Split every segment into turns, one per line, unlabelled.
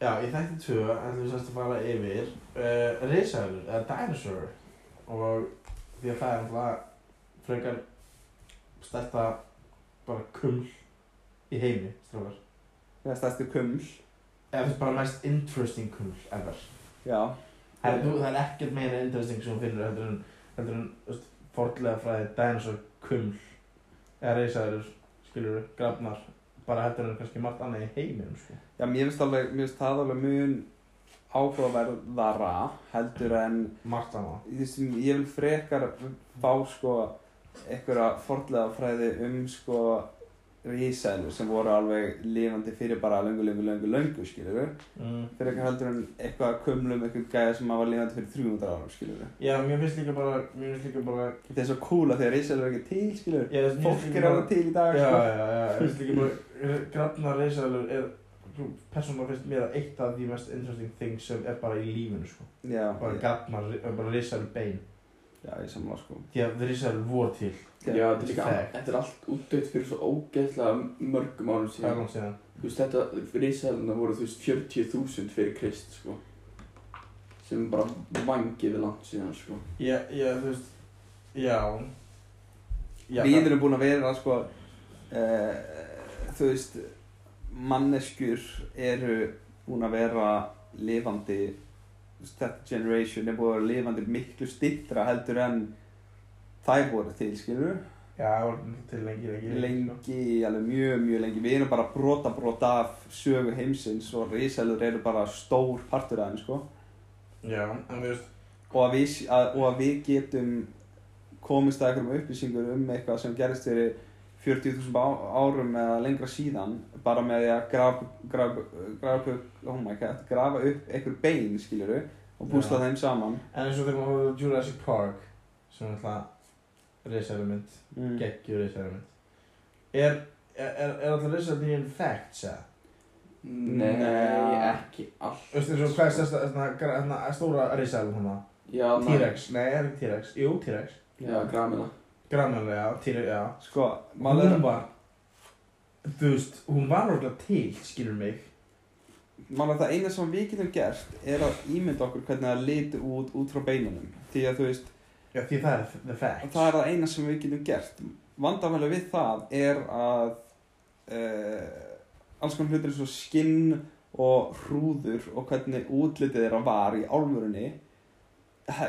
Já, ég þætti tvö, en þú sérst að fara yfir uh, Risaður, eða Dinosaur og því að það er alltaf frekar stærsta bara kuml í heimi, strókar
Það er stærsti kuml.
eða finnst bara mest interesting kuml ever
Já.
það er, þú, það er ekkert meira interesting sem hún finnur heldur en, heldur en þú veist, fordlega fræði Dinosaur kuml eða Risaður, skilur grafnar bara heldur en kannski margt annað í heiminum sko.
Já, mér finnst alveg, mér finnst það alveg mun áhugaverðara heldur en
margt annað
því sem ég vil frekar fá sko einhverja forlega fræði um sko rísæðlur sem voru alveg lifandi fyrir bara löngu, löngu, löngu, löngu, skilur við
mm.
fyrir eitthvað heldur en eitthvað að kumlum eitthvað gæja sem var lifandi fyrir 300 árum, skilur við
Já, mér finnst líka bara, mér finnst líka bara
Þetta er svo cool að því að rísæðlur er ekki til, skilur
Já, þú veist,
við
mér finnst
Fólk
líka
er alveg
bara-
til í dag,
Já,
sko
já, já, ég finnst líka bara Grafna reysaðalur er persónulega finnst mér að eitt af því mest interesting things sem er bara í lífinu sko
Já,
bara
já,
grafna, bara reysaðalur bein
já, ég samla, sko
því að reysaðalur voru til
Já,
Já, þetta er, líka,
fact.
þetta er allt útdött fyrir svo ógeðslega mörgum árum
það er
síðan.
langt síðan
Þú veist, þetta risaðluna voru þú veist 40.000 fyrir Krist, sko. Sem er bara vangið við langt síðan, sko.
Já, já, þú veist Já Já,
við erum búin að vera sko, uh, þú veist manneskjur eru búin að vera lifandi þú veist, þetta generation er búin að vera lifandi miklu stittra heldur en þær voru til skilur
Já, það var til lengi, lengi sko.
lengi, alveg mjög mjög lengi við erum bara brota brota af sögu heimsins og risalur eru bara stór partur af þeim sko
Já, en þú veist
og að við, að, og að við getum komist að einhverjum upplýsingur um eitthvað sem gerist fyrir 40.000 á- árum eða lengra síðan bara með því að grafa, grafa, grafa, upp, oh my God, grafa upp einhver bein skiljuru og púsla
Já.
þeim saman
En eins og þegar maður hóður Jurassic Park sem er alltaf reysaðalur mynd
mm.
geggjur reysaðalur mynd er, er, er er alltaf reysaðalur nýjum facts, eða?
Nei,
Nei.
ekki allt.
Þú veist eins og hvað er stærsta, hérna, gra- hérna, stóra risaðum hana?
Já, nei.
T-Rex, nei, er ekki T-Rex, jú, T-Rex.
Já, græmina.
Grannlega, já, T-Rex, já.
sko, maður
Hún var, þú veist, hún var orðlega til, skilur mig.
Mála það eina sem við getum gert er að ímynda okkur hvernig það liti út út frá beinunum því að þú veist,
Já, því það er the fact.
það er það eina sem við getum gert vandamæli við það er að uh, alls konar hlutir eins og skinn og hrúður og hvernig útlitið þeirra var í álmurunni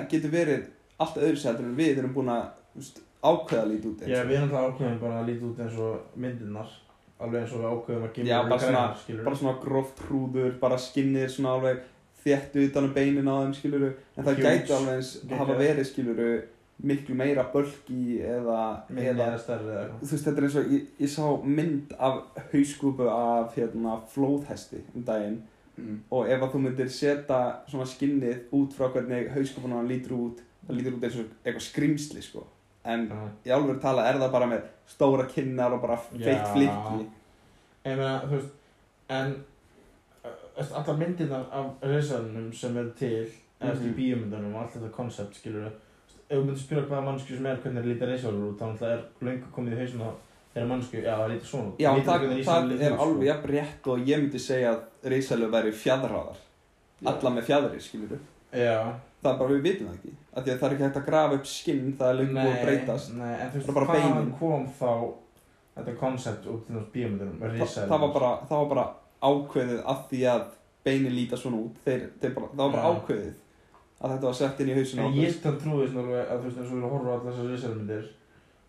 getur verið allt öðru sættur en við erum búin að þú veist, ákveða lítið út
Já,
eins og-
við erum alltaf ákveðum bara að líta út eins og myndirnar. Alveg eins og við ákveðum að
Já,
gimla
bara svona-
skilur
bara svona gróft hrúður, bara skinnir svona alveg þétt utan um beinin á þeim skiluru en það
Huge.
gæti alveg eins
Geggjað.
hafa verið skiluru miklu meira bölki eða,
Minni
eða
eða stærri eða eitthvað.
þú veist þetta er eins og ég, ég sá mynd af hauskúpu af hérna flóðhesti um daginn
Mm.
og ef að þú myndir setja svona skinnið út frá hvernig hauskúpuna hann lítur út það lítur út eins og eitthvað skrimsli sko en
Já.
í alveg tala er það bara með stóra kinnar og bara feitt
Já.
flikki
Ég meina, þú veist, en uh, allar myndirnar af reysaðunum sem eru til eða mm -hmm. í
Mhm.
bíómyndunum og allt þetta koncept, skilur við ef þú myndir spyrja hvaða mannsku sem er hvernig lítar reysaður út, þá náttúrulega er löngu komið í hausinn á þeirra mannsku, já, það lítur svona út
Já,
Lítur
það,
hvernig risaeðlur
það
líta
er
út, sko.
alveg jafn rétt og ég myndi segja að risalöf væri fjadrháðar Alla með fjadrir, skilur við
Já,
Það er bara, við vitum það ekki af Því að það er ekki hægt að grafa upp skinn, það er lengur búið að breytast
nei, en þú veist,
Það er bara
hvaðan
beinin.
kom þá þetta koncept út til þess bíómyndunum,
Þa,
reysaður
það, var bara, það var bara ákveðið af því að beini líta svona út þeir, þeir bara, Það var bara
Já.
ákveðið að þetta var sett inn í hausinu
En ég þann trúi svona alveg að þú veist, eins og við horfum á allar þessar risalmyndir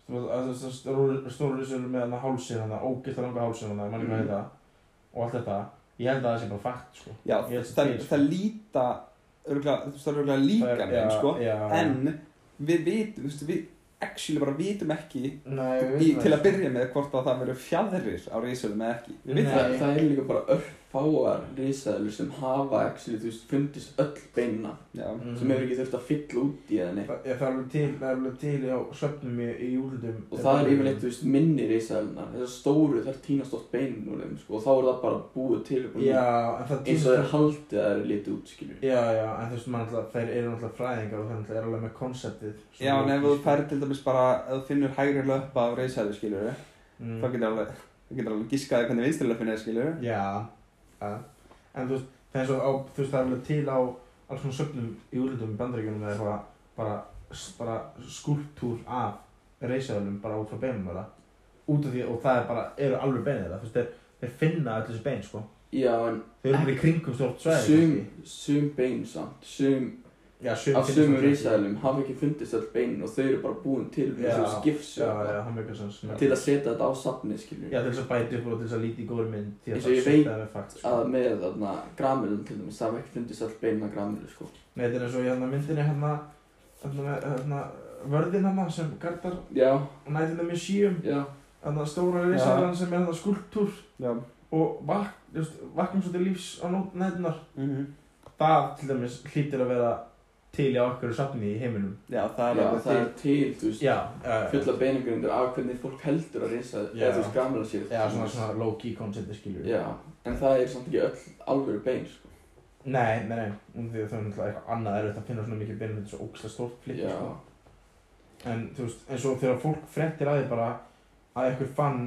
að þessar stóru- stóru risalur með hann hálsinn hann, ógilt að langa hálsinn hann,
Mm.
manni hvað
Mhm.
heita og allt þetta, ég held að það sé bara fakt, sko
Já,
ég held
það,
til, sko.
það líta örgulega, þú veist, það er örgulega líka
já,
með, sko
já,
En við vitum, þú veist, við actually bara vitum ekki
Nei, við
í,
vitum
til
það.
að byrja með hvort að það veru fjadrir á reisölum eða ekki
Við það,
Nei.
það er líka bara örfáar risaðlur sem hafa, actually, þú veist, fundist öll beinina.
já,
Mhm.
Sem hefur ekki þurft að fylla út í henni.
Það- Já, það er alveg til, það er alveg til á svefnum í, í júlundum
Og það er yfirleitt, þú veist, minni risaðlunar. Þessar stóru, þær týnast oft beinin úr þeim, sko. Og þá er það bara búið til upp á nýtt.
Já, en það
eins og þeir haldið að þeir litið út, skilur.
Já, já, en þú veist, mann alltaf, þeir eru alltaf fræðingar og þeir náttúrulega eru alveg með konceptið
já en ef þú færi til dæmis bara ef þú finnur hægri löpp af reisæðu skilur
mm.
þá getur alveg þá getur alveg giskaði hvernig vinstri löppin er skilur
Já, ja. en þú veist, Það er svo á, þú veist, það er alveg til á alls konar söfnum í úrlundum í bandaríkjunum eða eitthvað bara, s- bara skúltúr af reysaðalum bara út frá beinum þeirra út af því og það er bara, eru alveg beinir þeirra þú veist, þeir, þeir finna öll þessi bein sko
Já, en
þeir eru bara í kringum stort svæði
sum,
kannski.
sum bein samt, sum
já, sum
af
finnst
sumum
þeim ekki.
risaðilum hafa ekki fundist öll beinin og þau eru bara búin til við
Já, já,
þessu
já,
skipsu
hann meikar sens já.
til að setja þetta á safni, skiljum
já, til þess að bæta upp og til þess að líti í góður mynd því
Eins
að
og ég
það
veit
það er fakt sko.
að með þarna gramilum til dæmis, það hafa ekki fundist öll beinin að gramilu, sko
Nei, þetta er eins og í hérna myndinni hérna hérna með hérna vörðin hérna sem gardar
Já,
nætið með sjíum
já,
hérna stóra risaðan sem er hérna skúltúr
já.
og vak, just, vaknum svo til lífs á nót- næturnar
Mm
Mm-hmm. það til dæmis hlýtir að vera til í okkur safni í heiminum
já, það er
já,
alveg
það
til
er til, þú veist,
já, uh,
fulla beinagrundir af hvernig fólk heldur að risa,
Já.
eða þú veist, gramila séu
já, svona, svona low-key koncepti skilur
Já, en það er samt ekki öll alvöru bein, sko
nei, nei, nei, um því að það er náttúrulega eitthvað annað er að finna svona mikið beinum þetta er svo ókslega stórt flip
Já,
sko. en þú veist, eins og þegar fólk frettir að því bara að eitthvað fann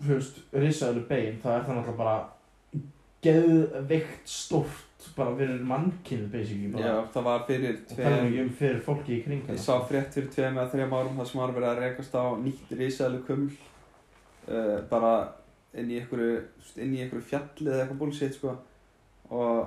þú veist, risaðilu bein það er það náttúrulega bara geðveikt stórt bara fyrir mannkinn basically bara.
já, það var fyrir
og það er
tveim
ekki um fyrir fólki í kring
Ég
hana.
sá frétt fyrir tveim eða þreim árum þar sem var verið að rekast á nýtt risaðlu kuml uh, bara inn í einhverju, inn í einhverju fjalli eða eitthvað bullshit sko og,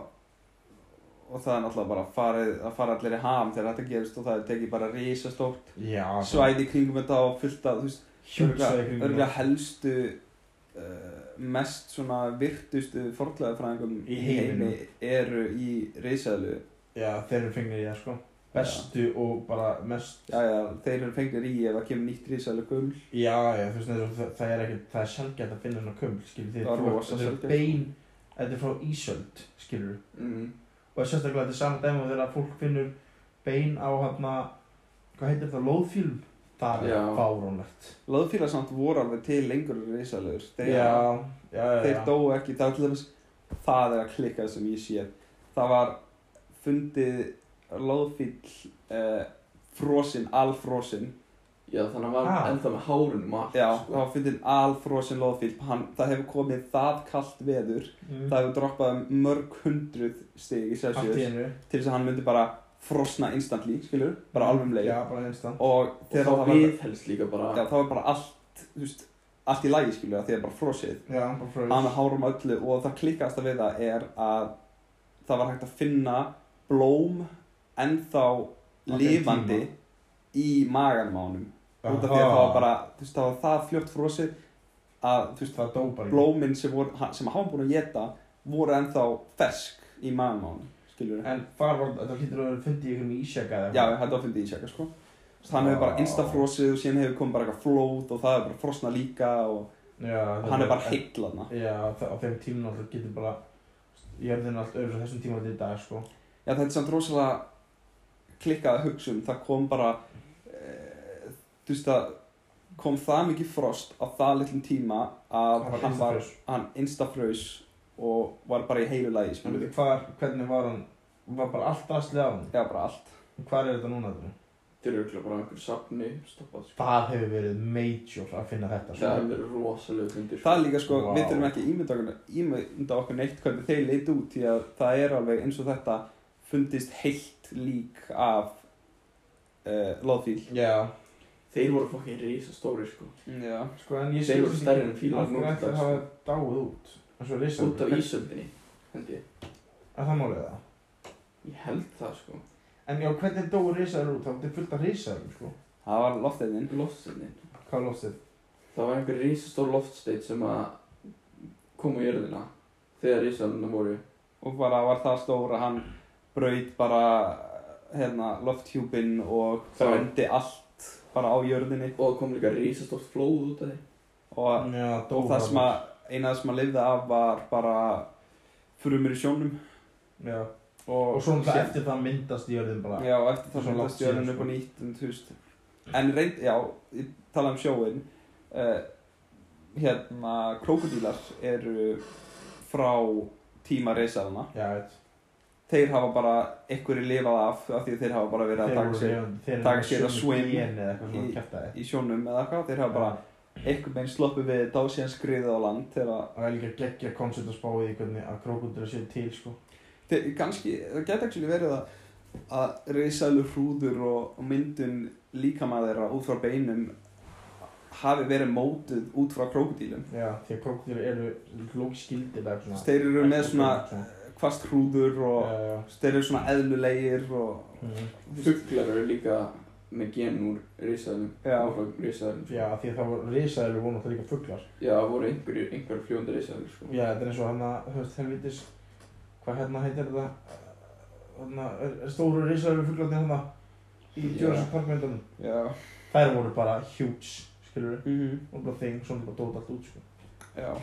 og það er náttúrulega bara farið, að fara allir í ham þegar þetta gerist og það er tekið bara risastórt
já,
svæði í kringum þetta og fullt af þú veist,
hjútsaði kring
örgulega helstu uh, mest svona virtustu fornleifafræðingum
Í heiminum.
eru í risaðlu
já, þeir eru fengir í það sko bestu og bara mest
já já, þeir eru fengnir í ef það kemur nýtt risaðlu kuml
já, já, þú veist, það, það er ekki það er sjálfgætt að finna svona kuml skilur því
Það er
þú-
rosa
þetta
sjaldgæft.
er bein þetta er frá Ísöld skilur
mm,
og sérstaklega þetta er saman dæmi og þegar fólk finnur bein á hérna hvað heitir þetta, lóðfílum það
Já.
er fárónlegt
Löðfílar samt voru alveg til lengur risalur. Þeir,
já, já, já,
þeir
já.
dóu ekki, það var til dæmis það er að klikka sem ég sé. Það var fundið löðfíl uh, frosin, alfrosin.
já, þannig að maður
Ah.
enda með hárunum og allt,
Já, það
sko
var fundið alfrosin löðfíl. Hann, það hefur komið það kallt veður.
Mm.
Það hefur droppað um mörg hundruð stig í
allt í
Celsius
einu
til þess að hann myndi bara frosna instantly, skilur, bara alveg um leið.
Mm, já, bara einstan
Og
Og
þegar
þá
það var,
viðhelst líka bara
já, það var bara allt, þú veist, allt í lagi, skilur, því að bara frosið.
já, bara frá
hann hárum öllu og það klikkasta við það er að það var hægt að finna blóm ennþá
þeim
lifandi
tíma.
í maganum á honum út af því að það var bara, þú veist, það var það fljótt frósið að, þú veist,
það dó bara í-
blómin sem, voru, ha- sem hann var búin að geta voru ennþá fersk í maganum á honum, skilur
en það var, þetta hlýtur að vera fundið í einhverjum ísjaka
Já, þetta var fyndið í tjekka, sko Þannig hann hefur bara
Vá.
instafrósið og síðan hefur komið bara eitthvað flóð og það hefur bara frosna líka og,
já,
og hann er bara heillana
já, það- á þeim tímum alltaf getur bara ég er þeirna allt öðru svo þessum tíma þetta í dag sko
Já, þetta er samt rosalega klikkaða hugsun, það kom bara, e, þú veist það kom það mikið frost á það litlum tíma að
Það var
hann var,
instafraus.
hann instafrös og var bara í heilu lagi,
En
skiljum
veitu
við.
hvar, hvernig var hann var bara allt rastlið á hann
Já, bara allt.
hvað er þetta núna þetta?
Þeir eru örugglega bara á einhverju safni, stoppað, sko
það hefur verið major að finna þetta
Það
sko.
hefur verið rosalega fundir
Það er líka sko,
Vá.
við þurfum ekki að ímynda okkur, ímynda okkur neitt hvernig þeir leit út því að það er alveg eins og þetta fundist heilt lík af uh, loðfíl.
Já,
Þeir voru fokkin risastóri sko
Já.
sko en ég
Þeir eru stærri en fílar
nú
nú
Af hverju ætti
dags.
að hafa dáið út? En svo risa
Út af ísöldinni, held ég
Er það málið það?
Ég held það sko
En já, hvernig dói risaður út? Það er fullt af risaður, sko
Það var loftiðin.
Loftstegnin
Hvað loft þið?
Það var einhver risastór loftsteit sem að kom á jörðina þegar risöldina voru
og bara var það stór að hann braut bara hérna, lofthjúpin og
Já.
brændi allt bara á jörðinni
og það kom líka risastórt flóð út af því
og,
Já,
og það sem að eina sem að lifði af var bara frumur í sjónum
Já
og,
Og svo um það
Sér-
eftir það myndast jörðin bara
já, og eftir það
Svo langt
myndast
síðan,
jörðin
sko.
upp á nýtt um, þú veist. en reynd, já, ég tala um sjóin uh, hérna krokodílar eru frá tíma reysaðana
Já, veit
þeir hafa bara, einhverju lifað af af því að þeir hafa bara verið að
Þeir
taka
voru-
sér
hérna- þeir
taka
voru
sér að
sömu
swim
gen eða eitthvað svona
í-
kjaftaði
í sjónum eða eitthvað, þeir hafa bara einhvern veginn sloppu við þetta og síðan skriðið á land þegar að
Það er líka geggja koncept að spá í því hvernig að krókundur séu til sko.
Þe- kannski, það geta ekki verið að að reisælu hrúður og, og myndun líkamæður út frá beinum hafi verið mótuð út frá krókudílum
Já, því að krókundur eru lókskildir eða svona.
þeir eru með svona
svona.
hvast hrúður og
Já, já.
þeir eru svona eðlulegir og
Mhm.
Fuglar eru líka með gen úr risaðum
Já.
risaðum
Já, því að það voru risaðilu voru náttúrulega líka fuglar.
Já, það voru einhverjir, einhverjir fljóðandi risaður sko.
Já, þetta er eins og hann að, þú veist, helvitis, hvað hérna heitir þetta, hérna, stóru risaðilu fuglarnir hérna í
Já.
Jurassic Park myndunum.
já,
Þær voru bara huge, skilur við,
mm
og bara þing, svona bara dót allt út, sko.
já.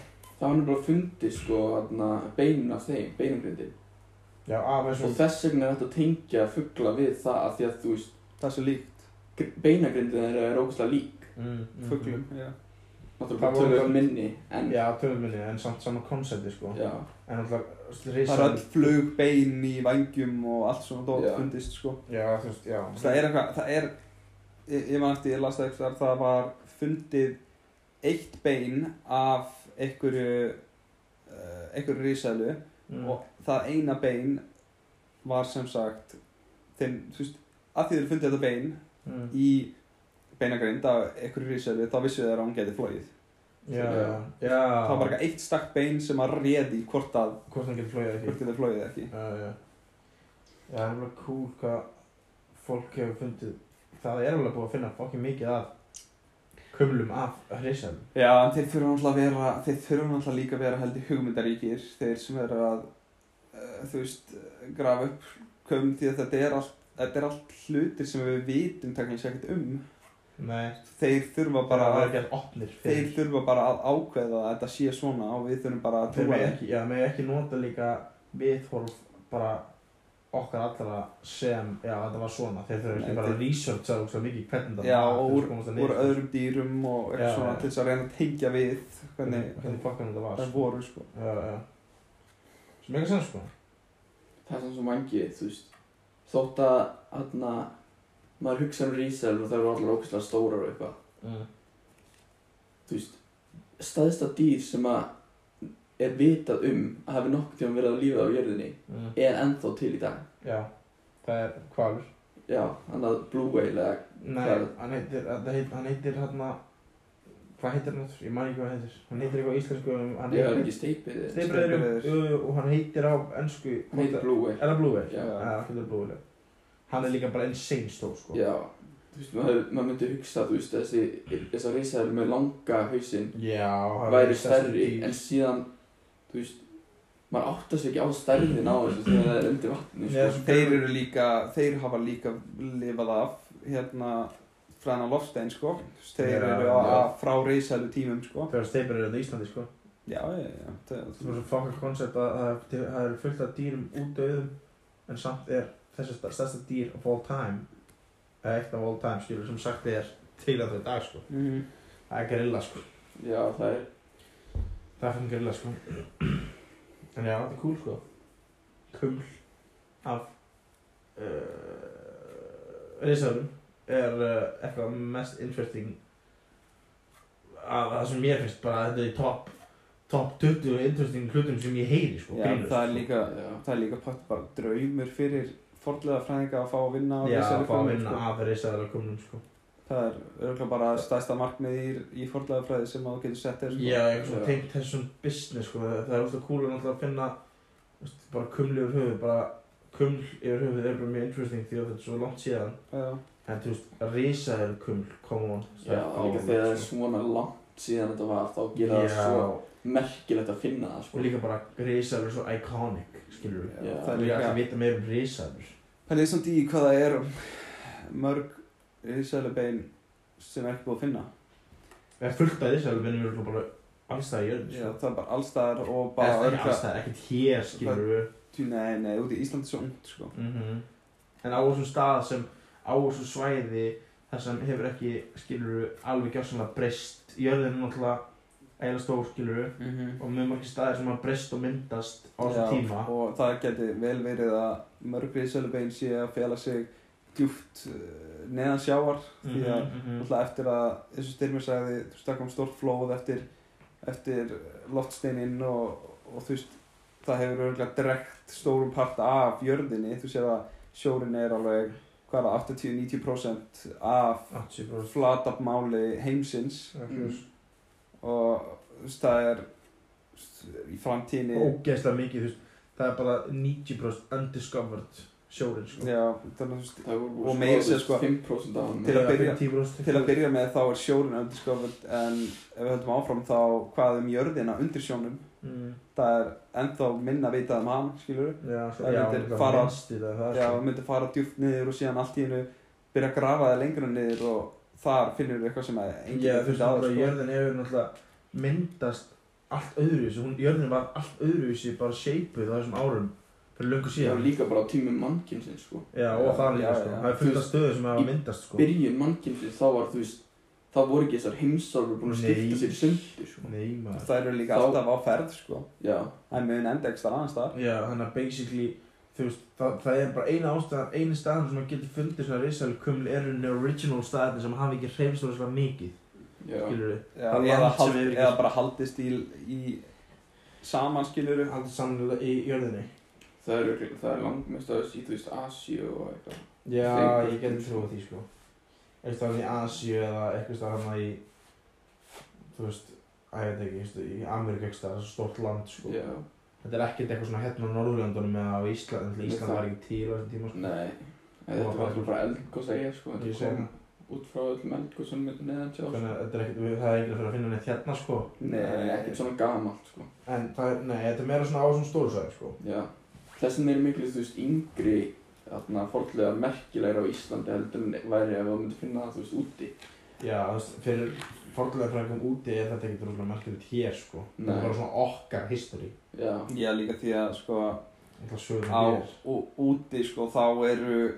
Það var nefnilega fundið sko, þarna, beinin af þeim, beiningrindi
Já, af
og
þessum,
þess vegna er þetta að tengja fugla við það af því að þú veist,
það er svo líkt
gr- beinagrindin þeirra er ógustlega lík
mm, mm,
fuglum já.
náttúrulega
Það
bara
voru
tölur
það-
minni en
Já, tölminni, en samt sama konsepti, sko.
já,
En alltaf,
það er
risaðilu.
all flug bein í vangjum og allt svona dót
Já.
fundist sko
Já, þú veist, já.
það er eitthvað, það er ég, ég man eftir, ég las það eitthvað það var fundið eitt bein af einhverju uh, einhverju rísælu
Mm.
og það eina bein var sem sagt þeim, þú veist, að því þeir fundið þetta bein
Mm.
í beinagreind af einhverju rísælu, þá vissu þeir að hún geti flóið
Já, já,
Já.
já.
það var bara eitt stakk bein sem að réði hvort að,
Hvort hann getur flóið eða ekki.
hvort þið flóið eða ekki
Já, já. Já, það er alveg cool hvað fólk hefur fundið. Það er alveg búið að finna fokkið mikið af kumlum af hrissan.
Já, en þeir þurfa náttúrulega að vera, þeir þurfa náttúrulega líka að vera heldur hugmyndaríkir, þeir sem eru að, uh, þú veist, eh, grafa upp köm því að þetta er allt, þetta er allt hlutir sem við vitum takkins ekkert um.
Nei,
Þeir þurfa
bara
bara
að vera
að,
ekki að opnir
þeir þurfa bara að ákveða að þetta sé svona og við þurfum bara að
Þeir
trúa
með
þeim.
ekki, já, með ekki nota líka viðhorf bara okkar allra sem, já, þetta var svona. Þeir þurfa
Nei,
ekki bara
þeir-
að researcha úr svo mikið hvernig
Já,
var,
og
til þess að komast að
Úr
niðurstöðu.
öðrum dýrum og eitthvað
Já,
svona
já.
til þess að reyna að tengja við hvernig,
hvernig fokkan þetta var.
það voru,
sko.
sko.
Já, já. Sem ekki sem sko.
það er svona svo mangið þú veist, þótt að þarna, maður hugsa um risaður og það eru allar ógustlega stórar og eitthvað
Mm.
þú veist, staðista dýr sem að er vitað um að hafi nokkuð tíma verið að lífa á jörðinni
Mm.
er ennþá til í dag.
Já, það er hvalur.
Já, hann að Blue Whale eða
Nei,
Hvað?
hann heitir, það heit, hann heitir hérna, hvað heitir hann aftur? Ég man ekki hvað hann heitir. Hann heitir eitthvað á íslensku, hann
ég er
heitir
ekki steipið eða-
Steypireyður,
Steypireyður.
jú, jú, og hann heitir á ennsku,
Hann heitir Blue Whale.
er það Blue Whale?
Já.
Já, það heitir Blue Whale. Hann er líka bara insane stór, sko.
Já, þú veist, maður, maður myndi hugsa, þú veist, þessi, þessar risaður með langa hausinn
Já, hann
væri
er stærsti
stærri
dýr.
en síðan, þú veist, maður áttast ekki á stærðin á þessu þegar það er undir vatni,
Já,
sko.
sko.
Þeir eru líka, þeir hafa líka lifað af hérna fræna lofstein sko þeir
Já,
eru
já.
að, að frá reysælu tímum sko
Þegar Steypireyður er á Íslandi, sko.
já, já, já, það,
Það er svo fokkar koncept að það er- það eru fullt af dýrum útdauðum, en samt er þessi sta- stærsta dýr of all time, eða eitt of all time, skilur, sem sagt er til að þetta dag, sko.
Mhm.
Það er gorilla, sko.
Já, það er,
Það er fyrir grilla sko En já, þetta er cool sko Kuml af uh, Risaðurum er uh, eitthvað mest interesting af það sem mér finnst bara þetta er í topp top 20 interesting hlutum sem ég heyri sko
já,
grínlaust,
það er
sko.
líka
já,
það er líka pott bara draumur fyrir forlega fræðinga að fá að vinna á
Já, að
risaeðlu
fá að
könnun,
vinna
sko.
af risaðara kumlum sko
það er örgulega bara stærsta markmið í, í forlega fræði sem þú getur sett þér sko.
Já, eitthvað svona
Já.
tengt þessum business sko, það það er alltaf cool að náttúrulega að finna þú veist, bara kumli yfir höfuð, bara kuml yfir höfuð er bara mjög interesting því að þetta er svo langt síðan
já,
En þú veist, risaður kuml, come on sko.
já, líka þegar það er svona langt síðan þetta var, þá gera það svo merkilegt að finna það,
Og
sko.
líka bara, risaður er svo iconic, skilur við
Já.
það
Við ætlum
er
að
líka
vita meira um risaður
pælið samt í hvað það er um mörg reysælu bein sem er ekki búið að finna
Við erum fullt af risaður, við erum bara alls það í jörðin
Já,
sko.
það er bara allstaðar og
Eða,
bara
það er ekki alls
örgulega
það, ekkert hér, skilur við
Nei, nei, út í Íslandi er svo ungt, sko
-hmm. En á þessum stað sem, á þessum svæði þar sem hefur ekki, skilur alveg gjörsamlega breyst Jörðin er náttúrulega eiginlega stór, skilur
mm -hmm.
og mjög margir staðir sem hafa breyst og myndast á þessum tíma
Og það geti vel verið að mörg risalubein sé að fela sig djúft uh, neðan sjávar því að
-hmm.
Náttúrulega eftir að, eins og Styrmir sagði, þú veist, það kom stórt flóð eftir, eftir loftsteininn og, og þú veist, það hefur örgulega drekt stórum part af jörðinni, þú sér að sjórin er alveg, hvað er það, 80-90% af
80%
flatapmáli heimsins
mm.
og þú veist, það er þú veist, í framtíðinni,
ógeðslega mikið þú veist það er bara 90% undiscovered sjórin sko
já, þannig að þú veist,
Það voru búið
Og meira að segja,
skoðað
sko,
5% af hann
til að byrja-
50%
Til að byrja með þá er sjórin undiscovered en ef við höldum áfram þá hvað um jörðina undir sjónum
mm.
það er ennþá minna vitað um hann, skilur
já, svo,
Það
já,
myndir
líka
fara-
minnst í það, það sko.
Já,
er
við myndum fara djúpt niður og síðan allt í hennu byrja að grafa það lengra niður og þar finnur við eitthvað sem að
sko.
enginn
já, þú
hefur
veist bara
fundið áður,
jörðin hefur náttúrulega myndast allt öðruvísi hún, jörðin var allt öðruvísi bara shapeið á þessum árum fyrir löngu
Það var
síðan
líka bara á tímum mannkynsins sko
já, og það líka
Já,
sko
já.
það er fullt af stöðu sem
Í
hafa myndast sko
Byrjun mannkynsins þá var þú veist Það voru ekki þessar heimsálfur búin að
Nei.
skipta sér í sundur sko
nei
sko.
maður
Það eru líka
Þá-
alltaf á ferð, sko
Já
Það er mun enda ekki stað annars staðar
já, þannig að basically þú veist, það, það er bara eina ástæðan eini staðan sem að getur fundið svona risalu kumli eru henni original staðarnir sem hafa ekki hreyfst svona mikið
Já
skilur við
Já,
Það er
eða,
land sem
hald,
hefur ekki-
eða bara haldist í, í saman, skilur
alltaf samanlega í jörðinni
Það er, örugglega- það er langmest að þessi, þú veist, Asíu og eitthvað
Já,
Þeim-
ég geti trúið því sko Eitthvað hann í Asíu eða eitthvað staðar hann í Þú veist, að ég veit ekki, þú veist, í Ameríku eitthvað staðar, þessu stórt land sko
Já
Þetta er ekkert eitthvað svona hérna á Norðurlandunum eða á Ísland, en
Nei,
Ísland
það-
var ekki til á þessum tíma sko
Nei Þetta
Og
var
það-
alltaf bara eldgóðs að ég sko
Ég
Þetta
segi
kom út frá öllum eldgóðsunum neðan sjá sko.
Þannig að þetta er ekkert, við- það er ekkert að fyrir að finna neitt hérna sko
Nei, ekkert svona gamalt sko
En það er, nei, þetta er meira svona á þessum stóru sæði sko
Já, þessin er miklu, þú veist, yngri þarna fórlega merkilegri á Íslandi heldur en væri ef þú myndir finna það, þú veist, úti.
Já, þú veist, fyrir fornlega frækum úti er þetta ekkert rúglega merkilegt hér sko Þetta
Nei.
er bara svona okkar history
Já,
Já, líka því að, sko,
Eitthvað sögum
á
hér
og úti, sko, þá eru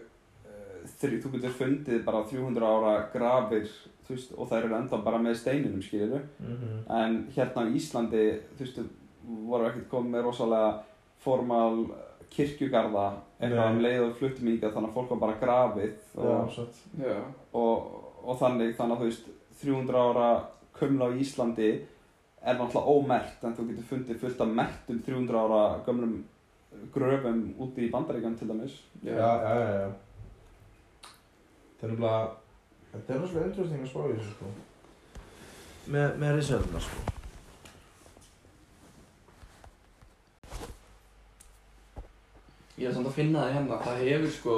eh, þri, þú getur fundið bara 300 ára grafir, þú veist, og þær eru enda bara með steininum, skilur
Mhm.
en hérna á Íslandi þú veist, voru ekkert komið með rosalega formal eh, kirkjugarða eitthvað
Nei.
um leið og fluttum ykkar þannig að fólk var bara grafið
Já,
og,
satt
já,
og, og þannig þannig að þú veist 300 ára kumla á Íslandi er náttúrulega ómert en þú getur fundið fullt af mertum 300 ára gömlum gröfum úti í bandaríkan til dæmis
já,
já, já, já, já. Það er nefnilega, þetta er náttúrulega interesting að spá í þessu sko. Með, með risöðunar sko.
Ég er samt að finna það hérna, það hefur sko,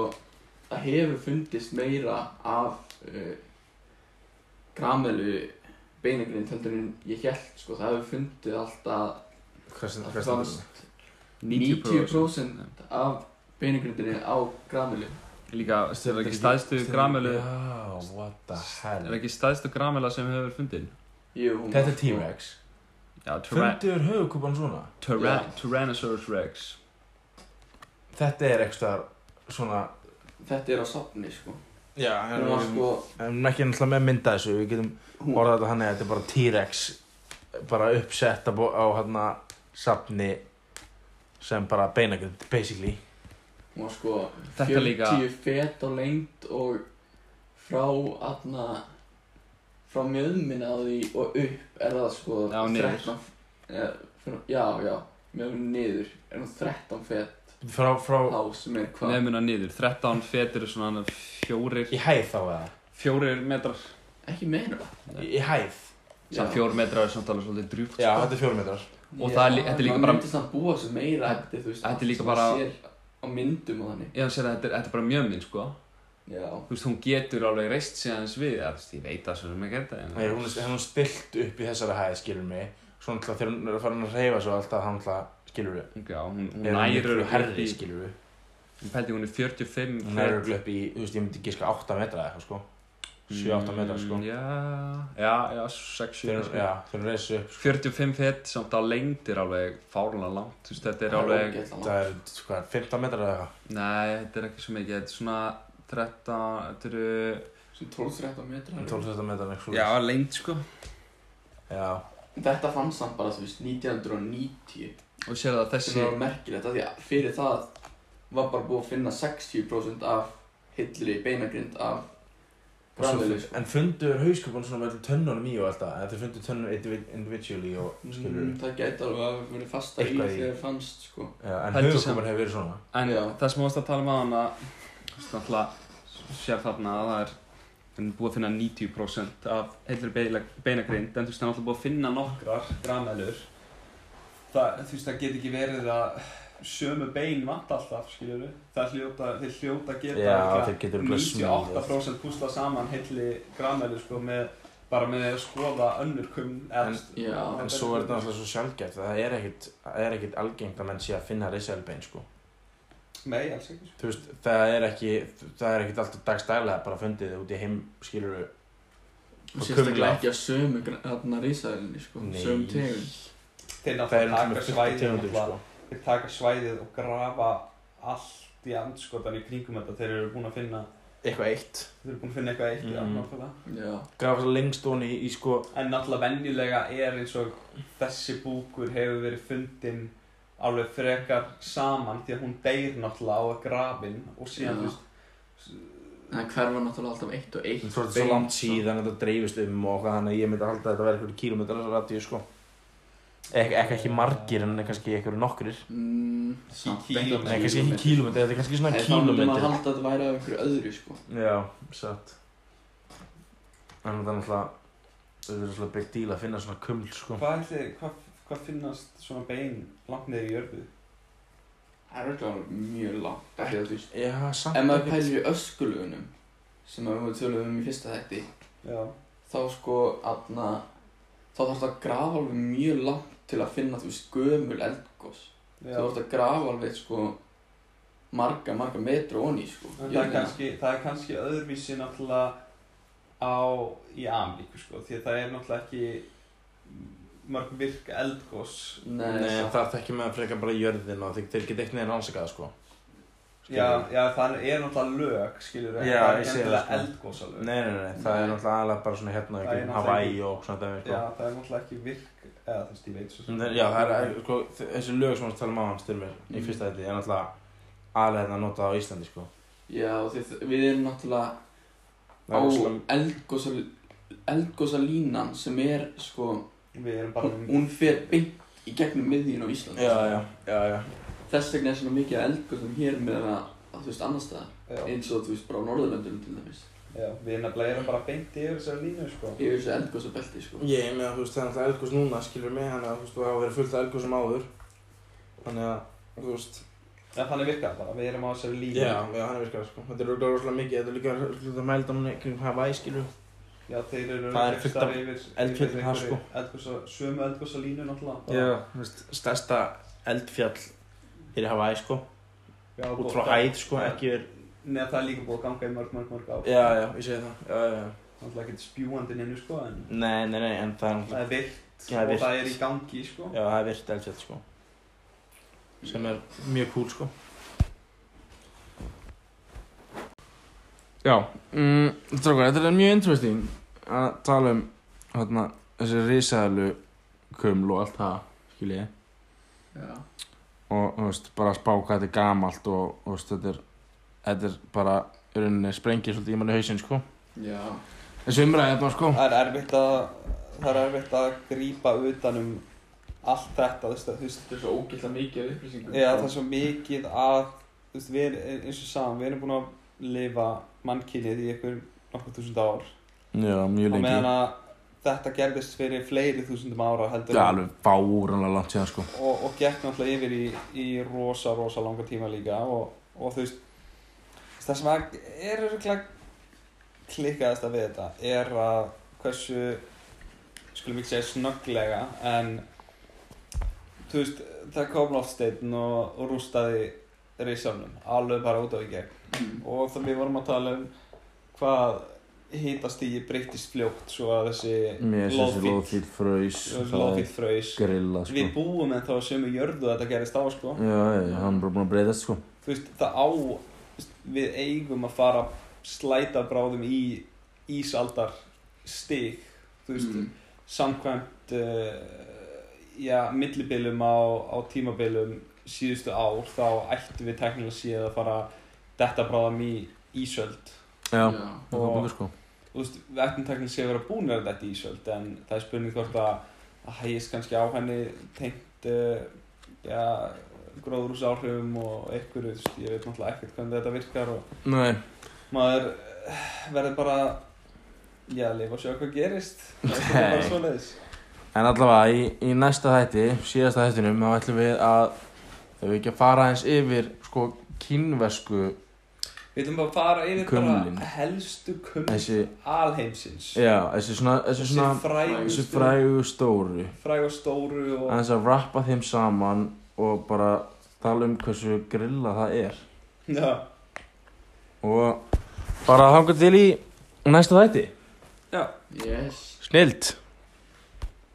það hefur fundist meira af uh, gramelu beinagrind heldur en ég held, sko, það hefur fundið alltaf,
Hvað
það fannst 90% af beinagrindinni á gramelu.
Líka, er það ekki stæðstu gramelu
Já, what the
Er
hell.
það ekki stæðstu gramela sem hefur fundin?
Jú, hún
Þetta
var
er
sko-
T-Rex.
Já, tyra,
Fundiður höfukúpan svona?
tyra,
Já.
Tyrannosaurus Rex
Þetta er eitthvað svona...
Þetta er á safni, sko.
Já,
Hún var
við
sko,
erum ekki náttúrulega með að mynda þessu. Við getum
hún
orðað þetta hann eða þetta er bara T-Rex. Bara uppsett á, á hérna safni sem bara beinagrind, basically.
Hún var sko
Þetta
40
líka-
fet á lengd og frá aðna frá mjöðminna á því og upp er það sko
Já, niður.
13 eh, fyrir- Já, já, mjöðminna niður er hún 13 fet
Frá, frá...
á sem er hvað
Nefnuna niður, 13 fetur er svona fjórir,
Í hæð þá eða?
fjórir metrar
Ekki meira
Í, í hæð?
Sann fjór metrar er samt alveg svolítið drjúpt
Já,
sko.
þetta er fjórumetrar.
Og það er lí- þetta er líka bara-
Það myndist að búa sem meira
Þetta-
eftir þú veist
þetta er
allt
líka
sem
bara-
maður sér á myndum og þannig
Ég hann sér að þetta er, þetta er bara mjömmin sko
Já
Þú veist, hún getur alveg reist sig aðeins við eða, þú veist, Ég veit það svo sem ekki þetta en-
Nei, hún er, hún er stilt upp í þessari hæð, skilur mig. Svo náttúrulega þegar hún er að fara að reyfa svo alltaf, hann náttúrulega, skilur við.
Já, hún, hún
Er hún
nær
miklu herri,
öruglega
skilur við.
Hún pældi hún er 45
Hún er öruglega upp í, þú veist, ég myndi giska 8 metra eða eitthvað, sko. 7-8 metra, sko.
Mm, Já, já, já, 6-7
Þegar hún, já, þegar hún reyðs upp,
45 fett samt á lengd er alveg fárlega langt þú veist þetta er
Það
alveg
ógeðslega
það er, hvað, 15 metra eða eitthvað.
nei þetta er ekki svo mikið þetta er svona 13 þetta eru
langt. Svona 12-13 metrar
12-13 metra eða eitthvað.
já lengd sko
Já.
Þetta fannst hann bara þú veist 1990
og sér það að
sem
þessi
var merkilegt af því að fyrir það var bara búið að finna 60% af hillri beinagrind af
Og svo-
græmölu sko.
En fundu er hauskupun svona með öllum tönnunum í og alltaf En þið fundu tönnun indivi- individually og skilur
Mm, það gæti alveg að verið fasta í
Eitthvað í.
þegar fannst sko.
Mm.
Já, En
Heldur
hauskupun hefur verið svona
En
Já.
það sem ást að tala um á hana Náttúrulega sér þarna að það er við erum búið að finna 90% af heilri beila- beinagrind en þú veist það er náttúrulega búið að finna nokkrar gramelur
það, þú veist, það get ekki verið að sömu bein vant alltaf, skiljur við það hljóta, þeir hljóta að geta
Já,
eitthvað
þeir getur örugglega smíðað.
98% púsla saman heilli gramælu, sko, með bara með að skoða önnur kum
En-
Já,
En svo er þetta náttúrulega svo sjálfgæft að það er ekkit, það er ekkit algengt að menn sé að finna risalbein sko.
nei, alls ekki, sko
Þú veist, það er ekki, það er ekkit alltaf dagstælega bara fundið út í heim, skilur við, og
og sérstaklega
kumla.
ekki að sömu gr- þarna risaðilinni sko,
Nei.
sömu tegund
þeir
það er svona
náttúrulega taka
fullt af
svæðið
tegundum
náttúrulega-
sko.
þeir taka svæðið og grafa allt í andskotan í kringum þetta þeir eru búin að finna
Eitthvað eitt.
þeir eru búin að finna eitthvað eitt, já,
Mhm.
náttúrulega
Já,
Grafa svo lengst ofan í, í sko,
En náttúrulega venjulega er eins og þessi búkur hefur verið fundin alveg frekar saman því að hún deyr náttúrulega á að grafin og síðan
Já.
þú veist
en hverfa náttúrulega alltaf eitt og eitt
þú veist, svo
bein,
langt
sko.
síðan að þetta dreifist um og hvað, þannig að ég myndi halda að þetta verði eitthvað kílómetrar radíu sko. Ek, ekki ekki margir en kannski eitthvað nokkrir.
Mm, samt
Kí-
ekki
kílómetri.
Nei, kannski ekki kílómetri, þetta er kannski svona
Nei, þá myndi maður
kílómetri.
halda að þetta væri af einhverju öðru sko
Já, satt. En það er náttúrulega, þetta er svona big deal að finna svona kuml sko.
hvað, ætli, hvað, hvað finnast svona bein langt niður í jörðu?
Það er auðvitað mjög langt af því sko. að þú veist
Já, samt
Ef maður pælir í öskulugunum sem að við tölum um í fyrsta þætti
Já,
þá sko aðna þá þarfst að grafa alveg mjög langt til að finna þú veist gömul eldgós
já.
þú þarfst að grafa alveg sko marga, marga metru onni sko
En það, er
jörðina.
kannski, það er kannski öðruvísi náttúrulega á, í Ameríku sko því að það er náttúrulega ekki mörg virk eldgós
Nei,
Nei,
samt.
það er ekki með að freka bara jörðin og þeir, þeir geta eitthvað neginn rannsakað, sko.
Já, já, það er náttúrulega lög, skilur
Já,
það er
ég
ekki
sé það,
endilega
sko.
eldgósalög
Nei, nei, nei, það er
Nei.
náttúrulega aðalega bara svona hérna,
Það er
ekki
náttúrulega
Hawaii og svona dæmi, sko.
Já, það er náttúrulega ekki virk eða þú veist, ég veit svo
En þeir- Já, það er, sko, þessi lög sem við talum á hann styrmir í fyrsta þetta er náttúrulega aðalega hérna notað á Íslandi, sko.
já því, þ- við erum náttúrulega á
Það er svona,
eldgósa eldgósa línan sem er sko
Við erum bara
hún, hún fer beint í gegnum miðjun á Íslandi
já, já, já, já.
þess vegna er svona mikið af eldgóðum hér með að, að þú veist annar staðar
já,
eins og þú veist bara á Norðurlöndunum til dæmis
já, við erum nefnilega erum bara beint yfir þessari línu, sko
yfir þessu eldgóðsabelti sko
Ég er með að, þú veist, það er náttúrulega elgos núna, skilur mig, þannig að, þú veist, það hafa verið fullt af elgosum áður. Þannig að, þú veist,
En þannig virkar það bara, við erum á þessari línu
já, já, hann virkar, sko. Þetta er örugglega rosalega mikið, þetta er líka hluta mældónunni kring Hawaii, skilur.
Já, þeir eru
Það er fullt af
yfir- yfir
eldfjöllum þar,
einhverju eldgósa- Sömu eldgósalínu náttúrulega bara.
Já, þú veist, stærsta eldfjall er í Hawaii, sko,
já
út
og-
frá hæð, sko,
Já.
ekki er...
Nei, það er líka búið að ganga í mörg, mörg, mörg á
Já, já, ég segi það, já, já, já.
Náttúrulega ekkert spjúandi nynnu, sko, en
Nei, nei, nei, en það er
það
náttúrulega,
er
Já,
virkt
það er
og það
virkt.
er í gangi, sko
já, það er virt eldfjall, sko, sem er mjög cool, sko. Já, mm, strákar, þetta er mjög interesting að tala um, hérna, þessi risaðalu kuml og allt það, skil ég.
já,
og þú veist, bara að spá hvað þetta er gamalt og þú veist, þetta er, þetta er bara í rauninni sprengir svolítið í manni hausinn sko.
já.
þessu umræði þetta sko.
Það er erfitt að það er erfitt að grípa utan um allt þetta, þú veist, þú veist
þetta er svo ógætla mikið af upplýsingum
eða það er svo mikið að þú veist, við erum, eins og saman, við erum búin að lifa mannkynið í einhver nokkur þúsund ár
já, mjög
og
lengi
meðan að þetta gerðist fyrir fleiri þúsundum ára heldur
það er
en-
alveg fáránlega langt síðan sko.
og, og gekk náttúrulega yfir í, í rosa, rosa langa tíma líka og, og þú veist það sem að er örgulega klikkaðast að við þetta er að hversu skulum ekki segja snögglega en þú veist það kom loftsteinn og, og rústaði reisafnum alveg bara út á í gegn
mm.
og það við vorum að tala um hvað hitastígi breyttist fljótt svo að
mér
þessi
er þessi loðfýll fröys
loðfýtt fröys
grilla sko.
Við búum en þá sömu jörðu að þetta gerist á sko
já, já, hann er bara búin að breyðast sko.
Þú veist, það á Við eigum að fara að slæta bráðum í ísaldar stig Þú veist,
Mm.
samkvæmt uh, Já, millibilum á, á tímabilum síðustu ár Þá ættum við teknilega séð að fara að Detta bráðum í ísöld
já,
já.
það var búin sko
Þú veist, við ættum takk að sé að vera búin að þetta ísöld en það er spurning hvort að að hægist kannski á henni tengt uh, já, gróðrús áhrifum og einhverju, þú veist, ég veit náttúrulega ekkert hvernig þetta virkar og
Nei,
maður eh, verður bara já, lifa og sjá hvað gerist það er svolítið bara
Nei.
svoleiðis
en allavega í, í næsta þætti, síðasta þættinum þá ætlum við að þau við ekki að fara eins yfir sko kínvesku
Við ætlum bara að fara yfir
Kumlin.
bara helstu kumlin
þessi,
alheimsins
já, þessi svona þessi
Þessi
svona, þessi
frægustu
frægu stóru
fræg og stóru og
aðeins að rappa þeim saman og bara tala um hversu grilla það er
já,
og bara hanga til í næsta þætti
Yes
Snilt